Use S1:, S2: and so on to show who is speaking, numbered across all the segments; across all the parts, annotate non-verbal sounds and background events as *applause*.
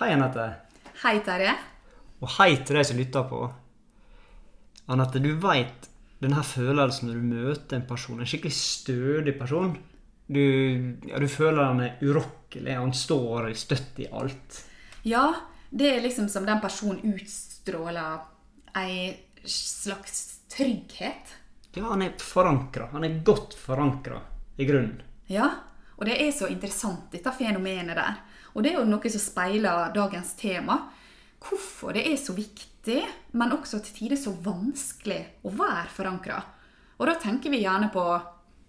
S1: Hei, Anette.
S2: Hei, Terje.
S1: Og hei til deg som lytter på. Anette, du veit denne følelsen når du møter en person, en skikkelig stødig person. Du, ja, du føler han er urokkelig, han står støtt i alt.
S2: Ja, det er liksom som den personen utstråler ei slags trygghet.
S1: Ja, han er forankra. Han er godt forankra i grunnen.
S2: Ja, og det er så interessant, dette fenomenet der. Og det er jo noe som speiler dagens tema. Hvorfor det er så viktig, men også til tider så vanskelig å være forankra. Og da tenker vi gjerne på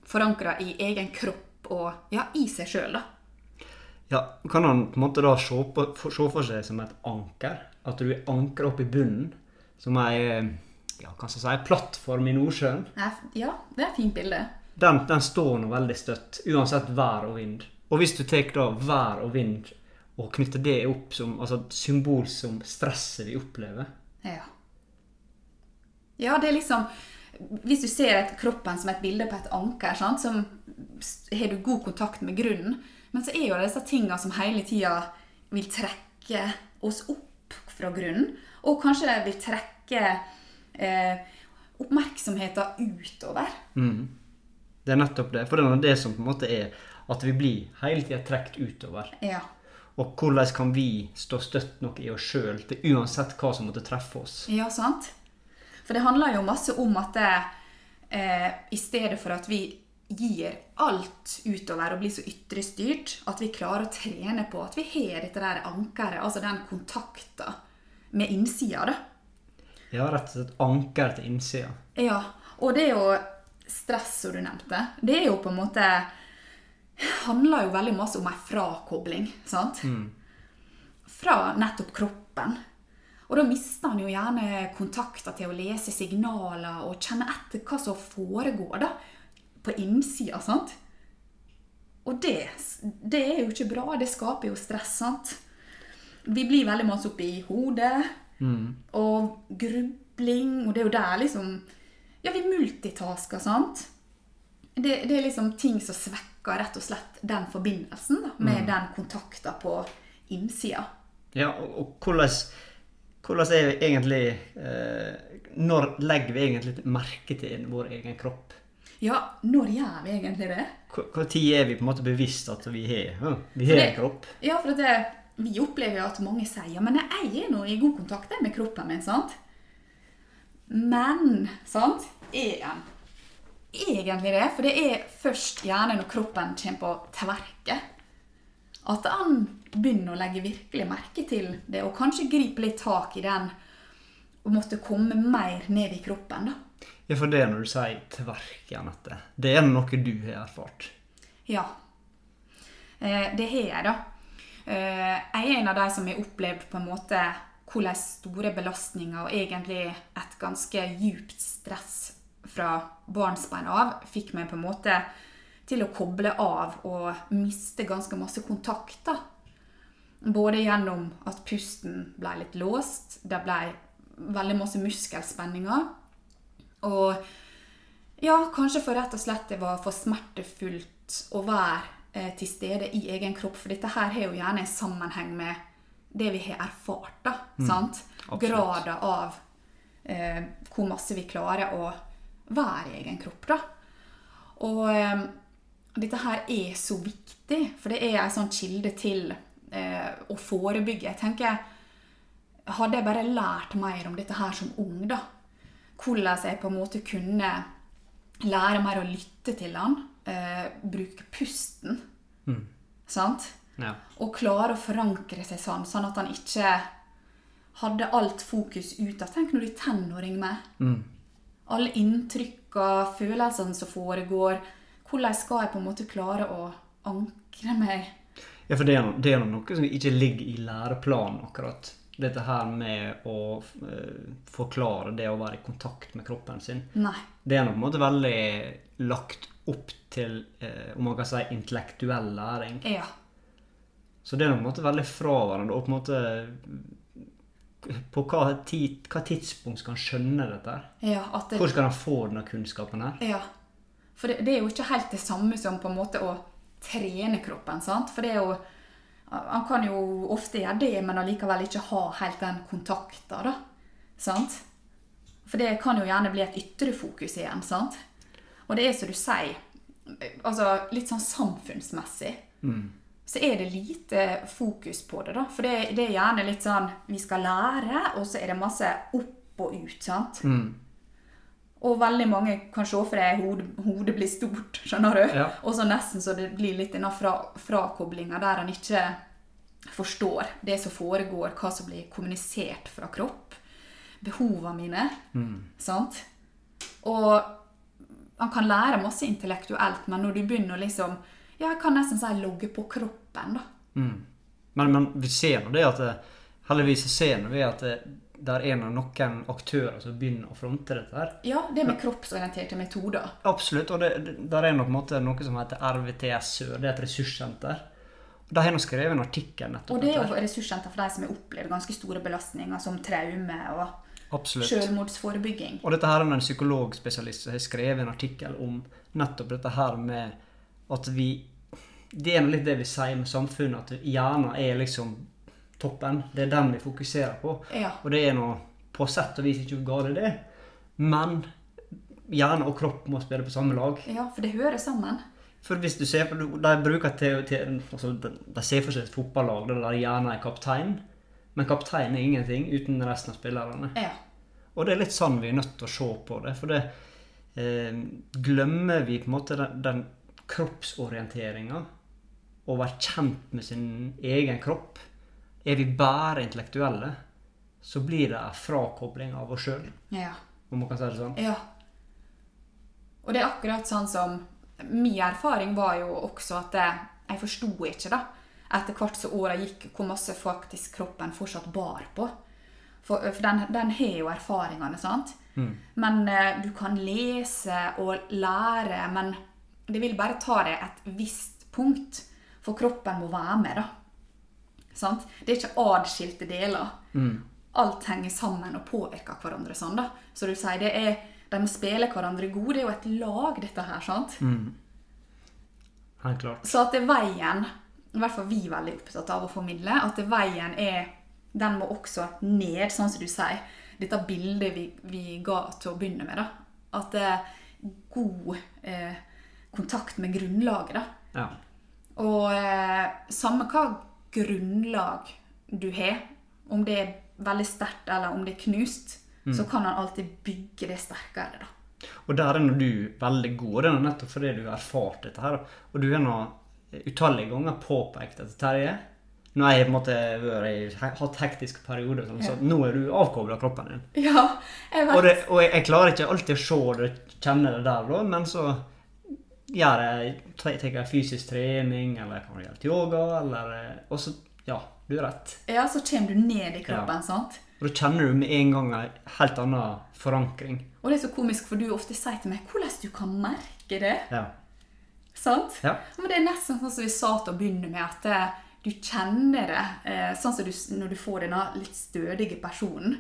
S2: forankra i egen kropp og ja, i seg sjøl, da.
S1: Ja, Kan han på en måte da se, på, for, se for seg som et anker? At du er ankra opp i bunnen? Som ei ja, hva skal jeg si, plattform i Nordsjøen?
S2: Nei, Ja, det er et fint bilde.
S1: den, den står nå veldig støtt, uansett vær og vind. Og hvis du tar da vær og vind og knytter det opp som altså et symbol som stresset vi opplever
S2: Ja. Ja, det er liksom Hvis du ser et, kroppen som et bilde på et anker, sant, som s- har du god kontakt med grunnen, men så er jo det disse tinga som hele tida vil trekke oss opp fra grunnen, og kanskje det vil trekke eh, oppmerksomheten utover.
S1: Det er nettopp det. For det er det som på en måte er at vi blir hele tida trukket utover.
S2: Ja.
S1: Og hvordan kan vi stå støtt nok i oss sjøl til uansett hva som måtte treffe oss?
S2: Ja, sant? For det handler jo masse om at det, eh, i stedet for at vi gir alt utover og blir så ytrestyrt, at vi klarer å trene på at vi har dette der ankeret, altså den kontakten med innsida, da.
S1: Ja, rett og slett anker til innsida.
S2: Ja, og det er jo stress, som du nevnte. Det er jo på en måte Handler jo veldig masse om ei frakobling, sant? Fra nettopp kroppen. Og da mister han jo gjerne kontakter til å lese signaler og kjenne etter hva som foregår da, på innsida, sant? Og det, det er jo ikke bra. Det skaper jo stress, sant? Vi blir veldig masse oppe i hodet,
S1: Mm.
S2: og grubling, og det er jo der liksom Ja, vi multitasker, sant? Det, det er liksom ting som svekker rett og slett den forbindelsen da, med den kontakten på innsida.
S1: Ja, og, og hvordan, hvordan er vi egentlig eh, Når legger vi egentlig merke til vår egen kropp?
S2: Ja, når gjør vi egentlig det?
S1: Når er vi på en måte bevisst at vi har, ja, vi
S2: For
S1: har
S2: det-
S1: en kropp?
S2: Ja, for at det, vi opplever jo at mange sier ja, men jeg er nå i god kontakt jeg, med kroppen min, sant? Men, sant, er en egentlig det? For det er først gjerne når kroppen kommer på tverke, at han begynner å legge virkelig merke til det, og kanskje gripe litt tak i den, og måtte komme mer ned i kroppen, da.
S1: Ja, for det er når du sier tverk, Anette. Det er noe du har erfart.
S2: Ja. Eh, det har jeg, da. Eh, jeg er en av de som har opplevd på en måte hvordan store belastninger og egentlig et ganske djupt stress fra barnsben av fikk meg på en måte til å koble av og miste ganske masse kontakt. da. Både gjennom at pusten ble litt låst, det ble veldig masse muskelspenninger. Og ja, kanskje for rett og slett det var for smertefullt å være eh, til stede i egen kropp. For dette her har jo gjerne en sammenheng med det vi har erfart. da, sant?
S1: absolutt.
S2: Grader av eh, hvor masse vi klarer å være i egen kropp. da. Og eh, dette her er så viktig, for det er en sånn kilde til eh, å forebygge. Jeg tenker, hadde jeg bare lært mer om dette her som ung, da, hvordan jeg på en måte kunne lære mer å lytte til han, eh, bruke pusten, sant?
S1: Ja.
S2: Og klare å forankre seg sånn, sånn at han ikke hadde alt fokus ut. Tenk når du er tenåring med. Alle inntrykka, følelsene som foregår. Hvordan skal jeg på en måte klare å ankre meg?
S1: ja, for det er, no- det er noe som ikke ligger i læreplanen, akkurat. Dette her med å eh, forklare det å være i kontakt med kroppen sin.
S2: Nei.
S1: Det er nok på en måte veldig lagt opp til, eh, om man kan si, intellektuell læring.
S2: Ja.
S1: Så det er nok på en måte veldig fraværende. Og på en måte På hva, tid, hva tidspunkt skal han skjønne dette? her?
S2: ja at det,
S1: Hvor skal han få denne kunnskapen her?
S2: Ja. For det, det er jo ikke helt det samme som på en måte å trene kroppen, sant? For det er jo Han kan jo ofte gjøre det, men allikevel ikke ha helt den kontakten, da. Sant? For det kan jo gjerne bli et ytre fokus igjen, sant? Og det er som du sier, altså litt sånn samfunnsmessig, så er det lite fokus på det, da. For det, det er gjerne litt sånn Vi skal lære, og så er det masse opp og ut, sant? Og veldig mange kan se for deg hodet, hodet blir stort, skjønner du?
S1: Ja.
S2: Og så nesten så det blir litt denne fra, frakoblinga der han ikke forstår det som foregår, hva som blir kommunisert fra kropp, behovene mine, sant? Og han kan lære masse intellektuelt, men når du begynner å liksom, ja, jeg kan nesten si logge på kroppen da.
S1: Men, men vi ser nå det at eh, Heldigvis så ser nå vi at eh, der er nå noen aktører som begynner å fronte dette her.
S2: Ja, det med kroppsorienterte metoder.
S1: Absolutt. Og det, det, der er nå på en måte noe som heter RVTS Sør. Det er et ressurssenter. Og De har nå skrevet en artikkel nettopp
S2: Og det er
S1: dette her.
S2: jo ressurssenter for de som har opplevd ganske store belastninger, som traume og
S1: Absolutt.
S2: selvmordsforebygging.
S1: Og dette her er en psykologspesialist som har skrevet en artikkel om nettopp dette her med at vi Det er nå litt det vi sier med samfunnet, at hjernen er liksom toppen. Det er den vi fokuserer på.
S2: Ja.
S1: Og det er nå på sett og vis ikke galt, det. Men hjerne og kropp må spille på samme lag.
S2: Ja, for det hører sammen.
S1: For hvis du ser på, De bruker til, til altså, de, de ser for seg et fotballag der det gjerne er kaptein. Men kaptein er ingenting uten resten av spillerne.
S2: Ja.
S1: Og det er litt sånn vi er nødt til å se på det. For det eh, glemmer vi på en måte den, den kroppsorienteringa. Å være kjent med sin egen kropp. Er vi bare intellektuelle, så blir det en frakobling av oss sjøl,
S2: ja.
S1: om man kan si det sånn.
S2: Ja. Og det er akkurat sånn som Min erfaring var jo også at jeg, jeg forsto ikke, da, etter hvert som åra gikk, hvor masse faktisk kroppen fortsatt bar på. For, eh, for den, den har jo erfaringene, sant? Men eh, du kan lese og lære, men det vil bare ta deg et visst punkt. For kroppen må være med, da. Sant? Det er ikke adskilte deler. Alt henger sammen og påvirker hverandre sånn, da. Så du sier det er De må spille hverandre gode. Det er jo et lag, dette her, sant?
S1: Mm. Helt klart.
S2: Så at det veien I hvert fall vi er veldig opptatt av å formidle. At det veien er Den må også ned, sånn som du sier. Dette bildet vi, vi ga til å begynne med, da. At det er god eh, kontakt med grunnlaget, da.
S1: Ja.
S2: Og eh, samme hva grunnlag du har, om det er veldig sterkt eller om det er knust,
S1: Mm.
S2: så kan han alltid bygge det sterkere, da.
S1: Og der er nå du veldig god, og det er nå nettopp fordi du har erfart dette her. Og du har nå utallige ganger påpekt at Terje Nå har jeg på en måte vært i, hatt hektiske perioder, sånn, så nå er du avkobla kroppen din.
S2: *laughs* Ja, jeg vet.
S1: Og, det, og jeg, jeg klarer ikke alltid å se det, kjenne det der, da, men så gjør jeg tre- tar jeg fysisk trening, eller jeg kan gjøre litt yoga, eller eh, Og så Ja, du har rett.
S2: Ja, så kommer du ned i kroppen, sant?
S1: Og da kjenner du med en gang en helt annen forankring.
S2: Og det er så komisk, for du ofte sier til meg hvordan du kan merke det.
S1: Ja.
S2: Sant?
S1: Ja.
S2: Men det er nesten sånn som vi sa til å begynne med, at eh, du kjenner det. eh, Sånn som du, s- når du får denne litt stødige personen.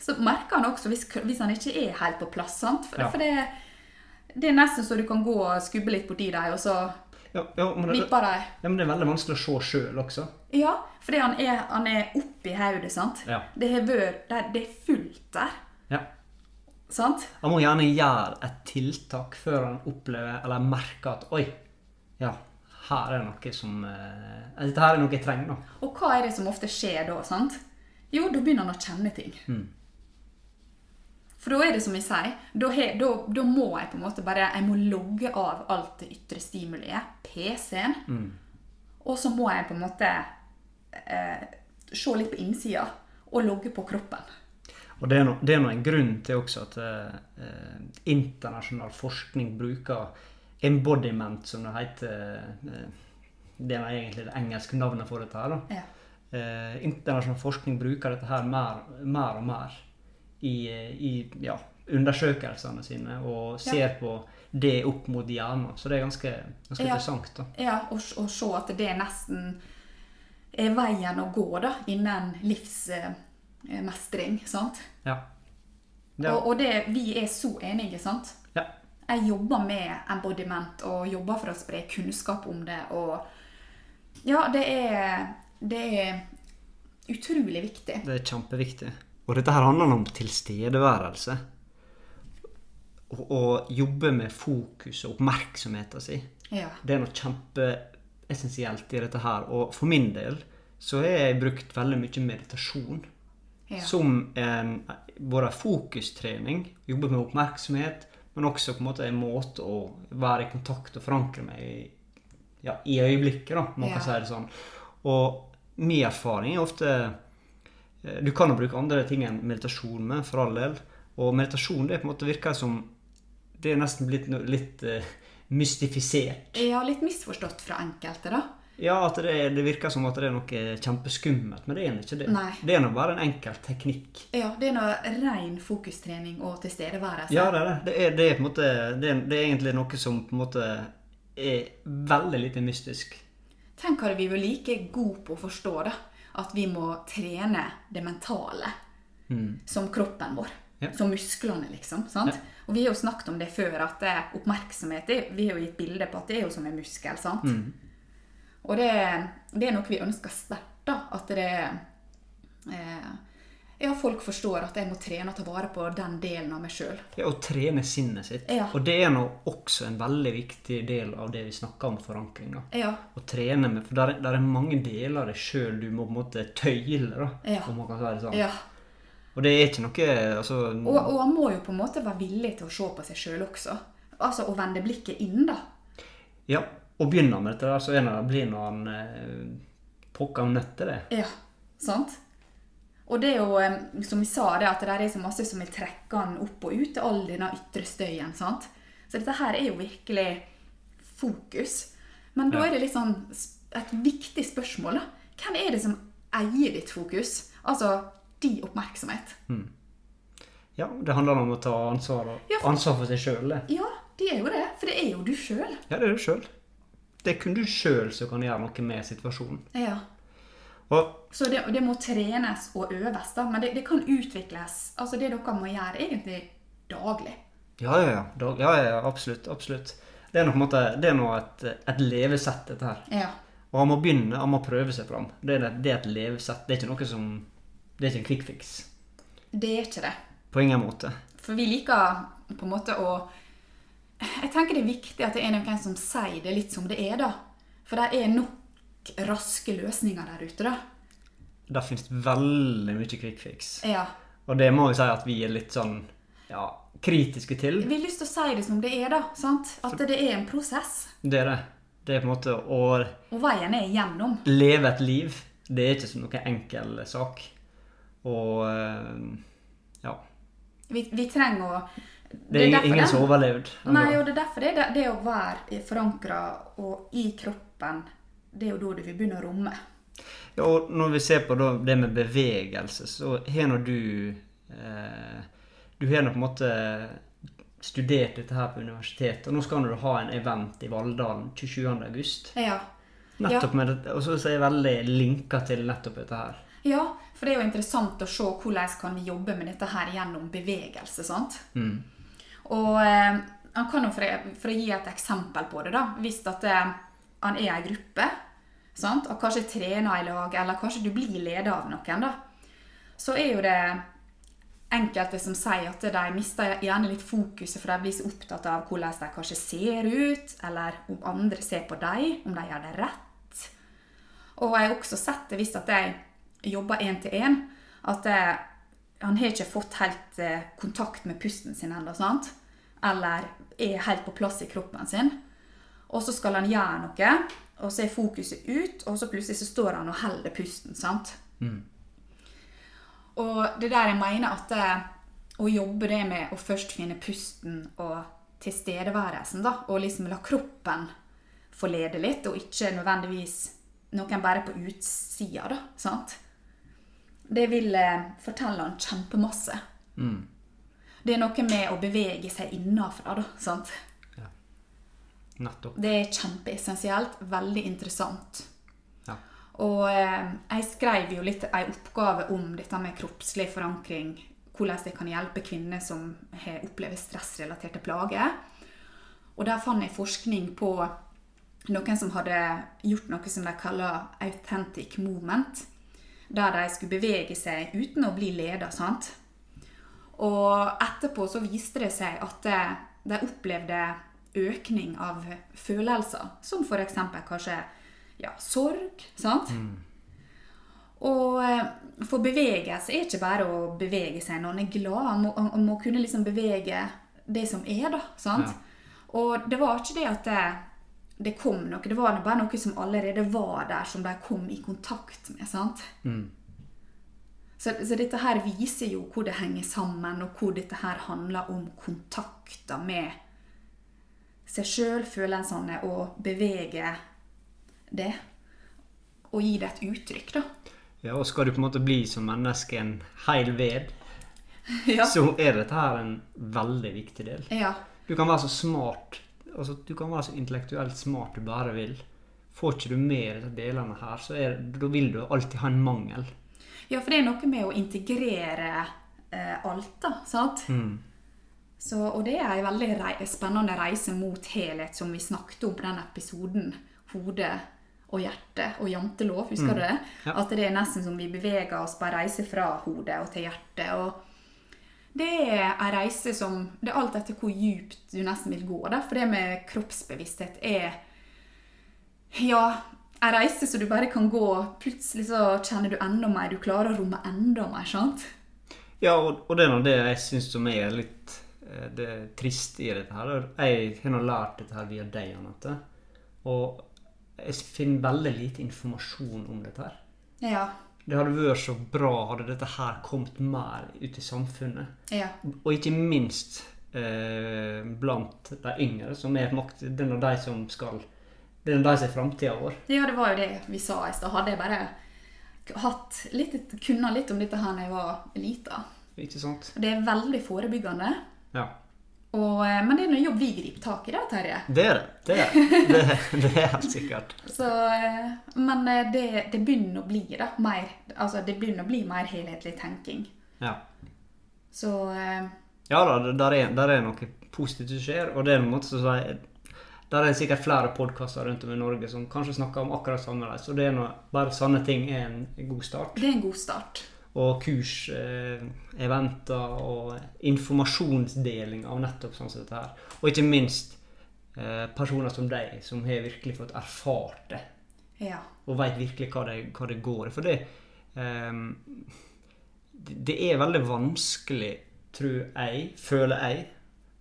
S2: Så merker han også hvis, k- hvis han ikke er helt på plass. sant? For,
S1: Ja.
S2: for det, det er nesten så du kan gå og skubbe litt borti dem, og så
S1: Ja, ja, men, det,
S2: vipper de.
S1: ja, men det er veldig vanskelig å se sjøl også.
S2: Ja, fordi han er, han er oppi hodet, sant?
S1: Ja.
S2: Det, har vært, det, det er fullt der,
S1: Ja.
S2: sant?
S1: Han må gjerne gjøre et tiltak før han opplever eller merker at Oi, ja, her er noe som eh, Dette her er noe jeg trenger, da.
S2: Og hva er det som ofte skjer da? sant? Jo, da begynner han å kjenne ting. For da er det som jeg sier, da, he- da, da må jeg på en måte bare jeg må logge av alt det ytre stimuliet, PC-en, og så må jeg på en måte eh, se litt på innsida og logge på kroppen.
S1: Og det er, no, det er nå en grunn til også at eh, eh, internasjonal forskning bruker embodiment, som det heter eh, Det er nå egentlig det engelske navnet for dette her. da.
S2: Ja.
S1: Eh, internasjonal forskning bruker dette her mer, mer og mer i, eh, i ja, undersøkelsene sine, og ser på det opp mot hjernen. Så det er ganske, ganske
S2: Ja.
S1: interessant. da.
S2: Ja, og, s- og se at det nesten er veien å gå da, innen livsmestring. sant?
S1: Ja. Ja.
S2: Og, og det, vi er så enige, sant?
S1: ja.
S2: Jeg jobber med embodiment og jobber for å spre kunnskap om det og Ja, det er, det er utrolig viktig.
S1: Det er kjempeviktig. Og dette her handler om tilstedeværelse. Å å jobbe med fokus og oppmerksomheten sin.
S2: Ja.
S1: Det er noe kjempeessensielt i dette her. Og for min del så har jeg brukt veldig mye meditasjon
S2: Ja.
S1: som en både fokustrening, jobbe med oppmerksomhet, men også på en måte en måte å være i kontakt og forankre meg i, ja, i øyeblikket, da, om man
S2: Ja.
S1: kan si det sånn. Og min erfaring er ofte eh, Du kan jo bruke andre ting enn meditasjon med, for all del. Og meditasjon det er på en måte virker som Det er nesten blitt no- litt eh, mystifisert.
S2: ja, litt misforstått fra enkelte, da.
S1: Ja, at det, det virker som at det er noe kjempeskummelt, men det er ikke det.
S2: Nei.
S1: Det er nå bare en enkel teknikk.
S2: Ja, det er noe ren fokustrening og tilstedeværelse.
S1: Ja, det er det. Det er, det er, på en måte, det er, det er egentlig noe som på en måte er veldig lite mystisk.
S2: Tenk hadde vi vært like gode på å forstå da, at vi må trene det mentale som kroppen vår.
S1: Ja.
S2: Som musklene, liksom. sant? Og Vi har jo snakket om det før, at det, oppmerksomhet det- Vi har jo gitt bilde på at det er jo som en muskel. sant?
S1: Mm.
S2: Og det, det er noe vi ønsker sterkt. da, At det eh, Ja, folk forstår at jeg må trene og ta vare på den delen av meg sjøl.
S1: Det er å trene sinnet sitt.
S2: Ja.
S1: Og det er nå også en veldig viktig del av det vi snakker om forankringa.
S2: Ja,
S1: Å trene med, for der, er- der er mange deler av deg sjøl du må på en måte tøyle, da.
S2: Ja.
S1: Om man kan si det sånn.
S2: ja.
S1: Og det er ikke noe altså,
S2: Og, og han må jo på en måte være villig til å se på seg sjøl også. Altså å vende blikket inn, da.
S1: Ja, og begynner han med dette, der, så er det, blir nå han eh, pokker nødt til det.
S2: Ja, sant? Og det er jo, em, som vi sa, det at det der er så masse som vil trekke han opp og ut, all denne ytre støyen, sant? Så dette her er jo virkelig fokus. Men da
S1: Ja.
S2: er det litt sånn s- et viktig spørsmål, da. Hvem er det som eier ditt fokus? Altså, din oppmerksomhet.
S1: Mm. Ja, det handler om å ta ansvar, og,
S2: Ja, for-
S1: ansvar for seg sjøl. det.
S2: Ja, det er jo det, for det er jo du sjøl.
S1: Ja, det er du sjøl. Det er kun du sjøl som kan gjøre noe med situasjonen.
S2: Ja.
S1: Og
S2: Så det, det må trenes og øves, da, men det, det kan utvikles. Altså, det dere må gjøre egentlig daglig.
S1: ja, ja, ja. Da, ja, ja, ja absolutt. Absolutt. Det er nå på en måte det er nå et, et levesett, dette her.
S2: Ja.
S1: Og han må begynne, han må prøve seg fram. Det er, det, det er et levesett. Det er ikke noe som Det er ikke en quick fix.
S2: Det er ikke det.
S1: På ingen måte.
S2: For vi liker på en måte å Jeg tenker det er viktig at det er noen som sier det litt som det er, da. For det er nok raske løsninger der ute, da.
S1: Det finnes veldig mye quick fix.
S2: Ja.
S1: Og det må vi si at vi er litt sånn ja, kritiske til.
S2: Vi har lyst til å si det som det er, da. sant? At det er en prosess.
S1: Det er det. Det er på en måte å
S2: Og veien er igjennom.
S1: leve et liv. Det er ikke som noen enkel sak. Og eh, ja.
S2: Vi, vi trenger å
S1: Det er,
S2: derfor
S1: ingen
S2: den-
S1: som har overlevd.
S2: Nei, og det er derfor det, det, det å være forankra og i kroppen, det er jo da du vil begynne å romme.
S1: Ja, og når vi ser på da, det med bevegelse, så har nå du eh, Du har nå på en måte studert dette her på universitetet, og nå skal du ha en event i Valldalen 27.8.
S2: Ja.
S1: Nettopp med det, og så så er jeg veldig linka til nettopp dette her.
S2: Ja, for det er jo interessant å se hvordan kan vi jobbe med dette her gjennom bevegelse. sant?
S1: Mm.
S2: Og eh, han kan jo for, å- for å gi et eksempel på det, da, hvis at eh, han er ei gruppe, sant? og kanskje trener i lag, eller kanskje du blir leder av noen, da, så er jo det enkelte som sier at de mister gjerne litt fokuset, for de blir så opptatt av hvordan de kanskje ser ut, eller om andre ser på dem, om de gjør det rett. Og jeg har også sett det hvis at jeg jobber én til én, at eh, han har ikke fått helt eh, kontakt med pusten sin ennå, sant? Eller er helt på plass i kroppen sin. Og så skal han gjøre noe, og så er fokuset ut, og så plutselig så står han og holder pusten, sant? Og det der jeg mener at eh, å jobbe det med å først finne pusten og tilstedeværelsen, da, og liksom la kroppen få lede litt, og ikke nødvendigvis noen bare på utsida, da, sant? Det vil eh, fortelle han kjempemasse. Det er noe med å bevege seg innafra, da, sant?
S1: Nettopp.
S2: Det er kjempeessensielt, veldig interessant.
S1: Ja.
S2: Og eh, jeg skrev jo litt ei oppgave om dette med kroppslig forankring. Hvordan det kan hjelpe kvinner som har opplever stressrelaterte plager. Og der fant jeg forskning på noen som hadde gjort noe som de kaller authentic movement, der de skulle bevege seg uten å bli leda, sant? Og etterpå så viste det seg at eh, de opplevde økning av følelser, som for eksempel kanskje ja, sorg, sant? Og eh, for bevegelse er ikke bare å bevege seg når en er glad, en må, en må kunne liksom bevege det som er, da, sant?
S1: Ja.
S2: Og det var ikke det at det, det kom noe, det var bare noe som allerede var der, som de kom i kontakt med, sant? Så, så dette her viser jo hvor det henger sammen, og hvor dette her handler om kontakter med seg sjøl, følelsene, og bevege det. Og gi det et uttrykk, da.
S1: Ja, og skal du på en måte bli som menneske en hel ved,
S2: Ja.
S1: så er dette her en veldig viktig del.
S2: ja.
S1: Du kan være så smart, altså du kan være så intellektuelt smart du bare vil. Får ikke du med disse delene her, så er, da vil du alltid ha en mangel.
S2: Ja, for det er noe med å integrere eh, alt, da. sant? Så, og det er en veldig rei spennende reise mot helhet, som vi snakket om på den episoden. Hode og hjerte og jantelov, husker du det?
S1: Ja.
S2: At det er nesten som vi beveger oss på en reise fra hodet og til hjertet. og det er en reise som Det er alt etter hvor djupt du nesten vil gå. Da. For det med kroppsbevissthet er ja, en reise så du bare kan gå. Plutselig så kjenner du enda mer. Du klarer å romme enda mer, sant?
S1: Ja, og, og det er nå det jeg syns som er litt eh, det trist i dette her. Jeg har nå lært dette her via deg, Anette. Og jeg finner veldig lite informasjon om dette her.
S2: Ja.
S1: Det hadde vært så bra hadde dette her kommet mer ut i samfunnet.
S2: Ja.
S1: Og ikke minst eh, blant de yngre, som er makt, den av de som skal Det er de som er framtida vår.
S2: ja, det var jo det vi sa i stad. Hadde jeg bare hatt litt, kunnet litt om dette her da jeg var lita.
S1: Ikke sant?
S2: Det er veldig forebyggende.
S1: Ja.
S2: Og, eh, men det er noe jobb vi griper tak i, da, Terje.
S1: Det er det. Det er *laughs* det. Det, det er helt sikkert.
S2: Så, eh, men eh, det, det begynner å bli da, mer, altså, det begynner å bli mer helhetlig tenking.
S1: Ja.
S2: Så eh,
S1: Ja da, det- der er, der er noe positivt som skjer, og det er en måte som sier Der er sikkert flere podkaster rundt om i Norge som kanskje snakker om akkurat samme reis, og det er noe, bare sanne ting er en god start.
S2: det er en god start.
S1: Og kurs, eh, eventer og informasjonsdeling av nettopp sånn som dette her. Og ikke minst eh, personer som deg, som har virkelig fått erfart det
S2: Ja.
S1: og veit virkelig hva det, hva det går i. For det ehm, det- Det er veldig vanskelig, tror jeg, føler jeg,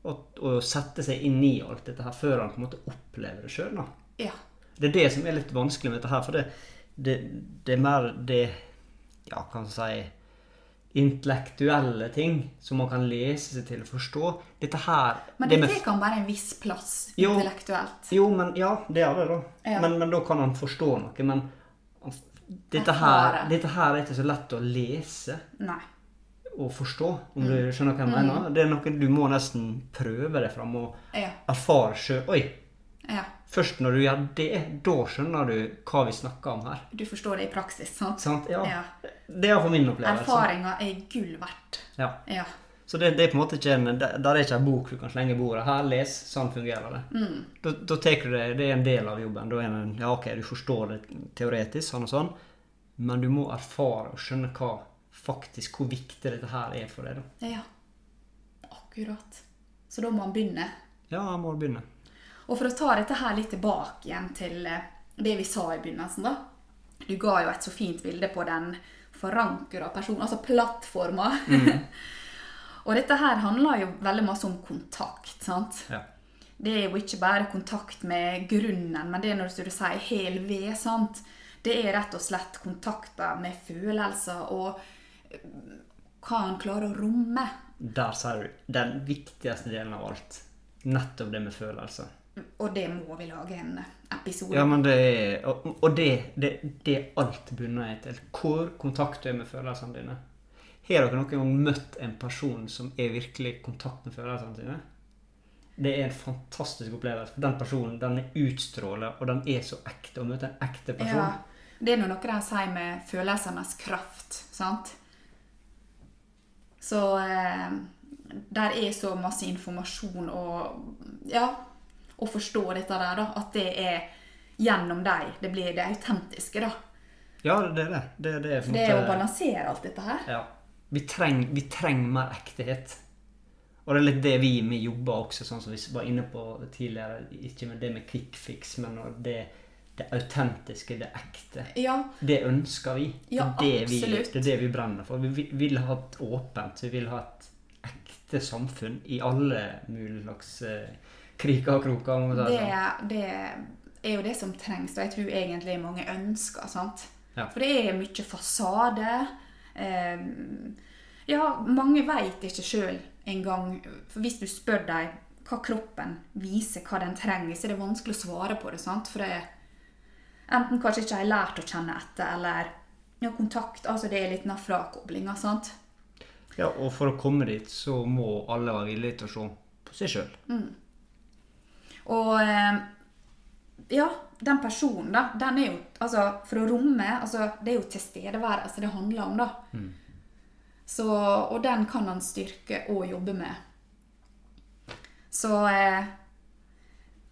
S1: å, å sette seg inn i alt dette her før han på en måte opplever det sjøl.
S2: ja.
S1: Det er det som er litt vanskelig med dette her, for det, det, det er mer det Ja, kan man si Intellektuelle ting som man kan lese seg til og forstå. Dette her
S2: Men
S1: det
S2: det,
S1: med-
S2: kan være en viss plass
S1: Jo.
S2: intellektuelt.
S1: jo, men ja, det er det, da.
S2: Ja.
S1: Men, men da kan han forstå noe. Men han f- dette her,
S2: Erfare.
S1: dette her er ikke så lett å lese
S2: Nei.
S1: og forstå, om du
S2: Mm.
S1: skjønner hva jeg mener. Det er noe du må nesten prøve deg fram og
S2: Ja.
S1: erfare sjøl. Oi!
S2: ja.
S1: Først når du gjør det, da skjønner du hva vi snakker om her.
S2: Du forstår det i praksis, sant?
S1: Sant? Ja.
S2: Ja.
S1: Sånn Det sånn. er for min opplevelse.
S2: Erfaringa er gull verdt.
S1: Ja.
S2: Ja.
S1: Så det, det er på en måte ikke en, der der er ikke en bok du kan slenge i bordet. Her, les. Sånn fungerer det.
S2: Mm.
S1: Da, da tar du det, det er en del av jobben. Da er det en, ja, ok, du forstår det teoretisk, sånn og sånn, men du må erfare og skjønne hva faktisk, hvor viktig dette her er for deg. da.
S2: ja. Akkurat. Så da må man begynne.
S1: Ja, jeg må begynne.
S2: Og for å ta dette her litt tilbake igjen til eh, det vi sa i begynnelsen, da. Du ga jo et så fint bilde på den forankra personen, altså plattforma.
S1: Mm.
S2: *laughs* Og dette her handler jo veldig masse om kontakt, sant?
S1: Ja.
S2: Det er jo ikke bare kontakt med grunnen, men det er når du sier hel ved, sant? Det er rett og slett kontakter med følelser og eh, hva han klarer å romme.
S1: Der sier du den viktigste delen av alt. Nettopp det med følelser.
S2: Og det må vi lage en episode
S1: Ja, men det er, Og, og det, det, det er alt bunnet jeg til. Hvor kontakt du er med følelsene dine. Har dere noen gang møtt en person som er virkelig i kontakt med følelsene sine? Det er en fantastisk opplevelse. for Den personen den er utstråler, og den er så ekte. Å møte en ekte person.
S2: Ja, det er nå noe de sier med følelsenes kraft, sant? Så eh, der er så masse informasjon og ja, å forstå dette der, da, at det er gjennom dem det blir det autentiske, da.
S1: Ja, det er det. Det, det er på en
S2: Det å
S1: måte-
S2: balansere alt dette her.
S1: Ja. Vi trenger vi trenger mer ektehet. Og det er litt det vi med jobber også, sånn som vi var inne på tidligere. Ikke med det med quick fix, men når det, det autentiske, det ekte.
S2: Ja,
S1: Det ønsker vi.
S2: Ja,
S1: det, er det vi
S2: absolutt.
S1: det er det vi brenner for. Vi vi- vil ha et åpent, vi vil ha et ekte samfunn i alle mulige slags eh, kriker og kroker. om man sier
S2: det,
S1: sånn.
S2: det er jo det som trengs, og jeg tror egentlig mange ønsker, sant.
S1: Ja.
S2: For det er mye fasade. Eh, ja, mange veit ikke sjøl engang For hvis du spør dem hva kroppen viser, hva den trenger, så er det vanskelig å svare på det, sant. For det, enten kanskje ikke har lært å kjenne etter, eller ja, kontakt Altså det er litt den der frakoblinga, sant.
S1: Ja, og for å komme dit, så må alle være villige til å se på seg sjøl.
S2: Og eh, ja, den personen, da, den er jo Altså, for å romme altså, Det er jo tilstedeværelse altså, det handler om, da.
S1: Mm.
S2: Så, og den kan han styrke og jobbe med. Så eh,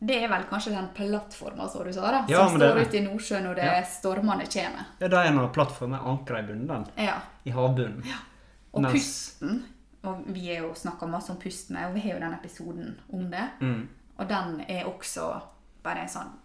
S2: det er vel kanskje den plattforma, som du sa, da,
S1: Ja,
S2: som
S1: men det-
S2: står ute i Nordsjøen når det
S1: Ja.
S2: stormene kommer.
S1: Ja, da er nå plattformen ankra i bunnen, den.
S2: Ja.
S1: I havbunnen.
S2: Og
S1: Mens-
S2: pusten. Og vi har jo snakka masse om pust med, og vi har jo den episoden om det.
S1: Mm.
S2: Og den er også bare en sånn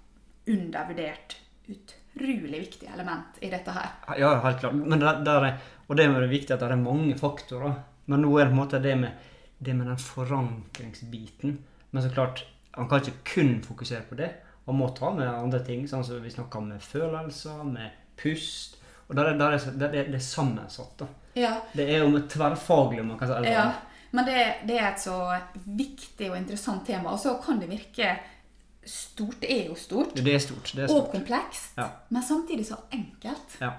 S2: undervurdert, utrolig viktig element i dette her.
S1: Ja, helt klart. Men der, der er, og det er jo viktig at det er mange faktorer. Men nå er det på en måte det med, det med den forankringsbiten. Men så klart, han kan ikke kun fokusere på det. Han må ta med andre ting, sånn som vi snakka med følelser, med pust. Og der er, der er, der er det er sammensatt, da.
S2: Ja.
S1: Det er jo med tverrfaglig, om man kan si. sånn. eller-
S2: ja. Men det, det er et så viktig og interessant tema. Og så kan det virke stort. Det er jo stort.
S1: Det er stort. Det er
S2: Og
S1: stort.
S2: komplekst.
S1: Ja.
S2: Men samtidig så enkelt.
S1: Ja.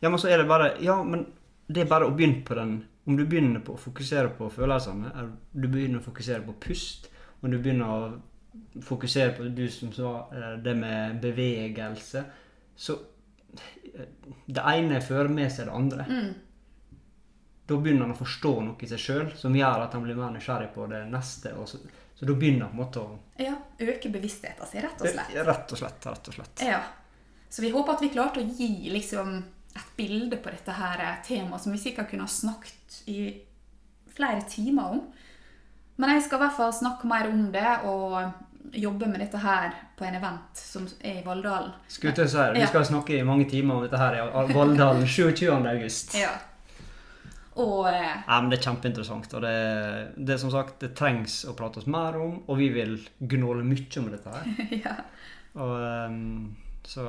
S1: ja, men så er det bare Ja, men det er bare å begynne på den Om du begynner på å fokusere på følelsene, eller du begynner å fokusere på pust, og du begynner å fokusere på du som sa eh, det med bevegelse, så eh, Det ene fører med seg det andre. Da begynner han å forstå noe i seg sjøl som gjør at han blir mer nysgjerrig på det neste. Og så, så da begynner han på en måte å
S2: Ja. Øke bevisstheten sin, rett og slett.
S1: Rett og slett. Rett og slett.
S2: Ja. Så vi håper at vi klarte å gi liksom, et bilde på dette her eh, temaet som vi sikkert kunne ha snakket i flere timer om. Men jeg skal i hvert fall snakke mer om det og jobbe med dette her på en event som er i Valldalen.
S1: Skulle til å si det. Vi
S2: Ja.
S1: skal snakke i mange timer om dette her i
S2: *laughs*
S1: Valldalen 27. august.
S2: Ja. Og eh, *laughs*
S1: Ja, men det er kjempeinteressant. Og det, det er som sagt, det trengs å prates mer om, og vi vil gnåle mye om dette
S2: *laughs*
S1: her.
S2: ja.
S1: Og, ehm, så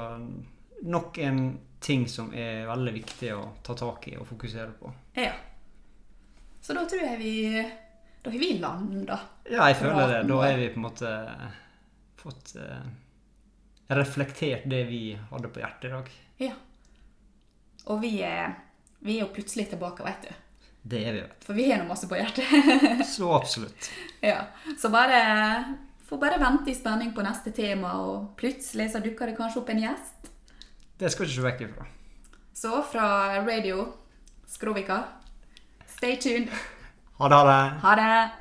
S1: nok en ting som er veldig viktig å ta tak i og fokusere på.
S2: ja. Så da tror jeg vi Da har vi landa.
S1: Ja, jeg føler det.
S2: Praten
S1: Da
S2: vår.
S1: er vi på en måte fått eh, reflektert det vi hadde på hjertet i dag.
S2: Ja. Og vi er, vi er jo plutselig tilbake, vet du.
S1: Det er vi, vet
S2: For vi har nå masse på hjertet. *laughs*
S1: du. Så absolutt.
S2: Ja, så bare får bare vente i spenning på neste tema, og plutselig så dukker det kanskje opp en gjest.
S1: Det skal du ikke se vekk ifra.
S2: Så fra radio Skrovika, stay tuned.
S1: Ha det, ha det.
S2: Ha det!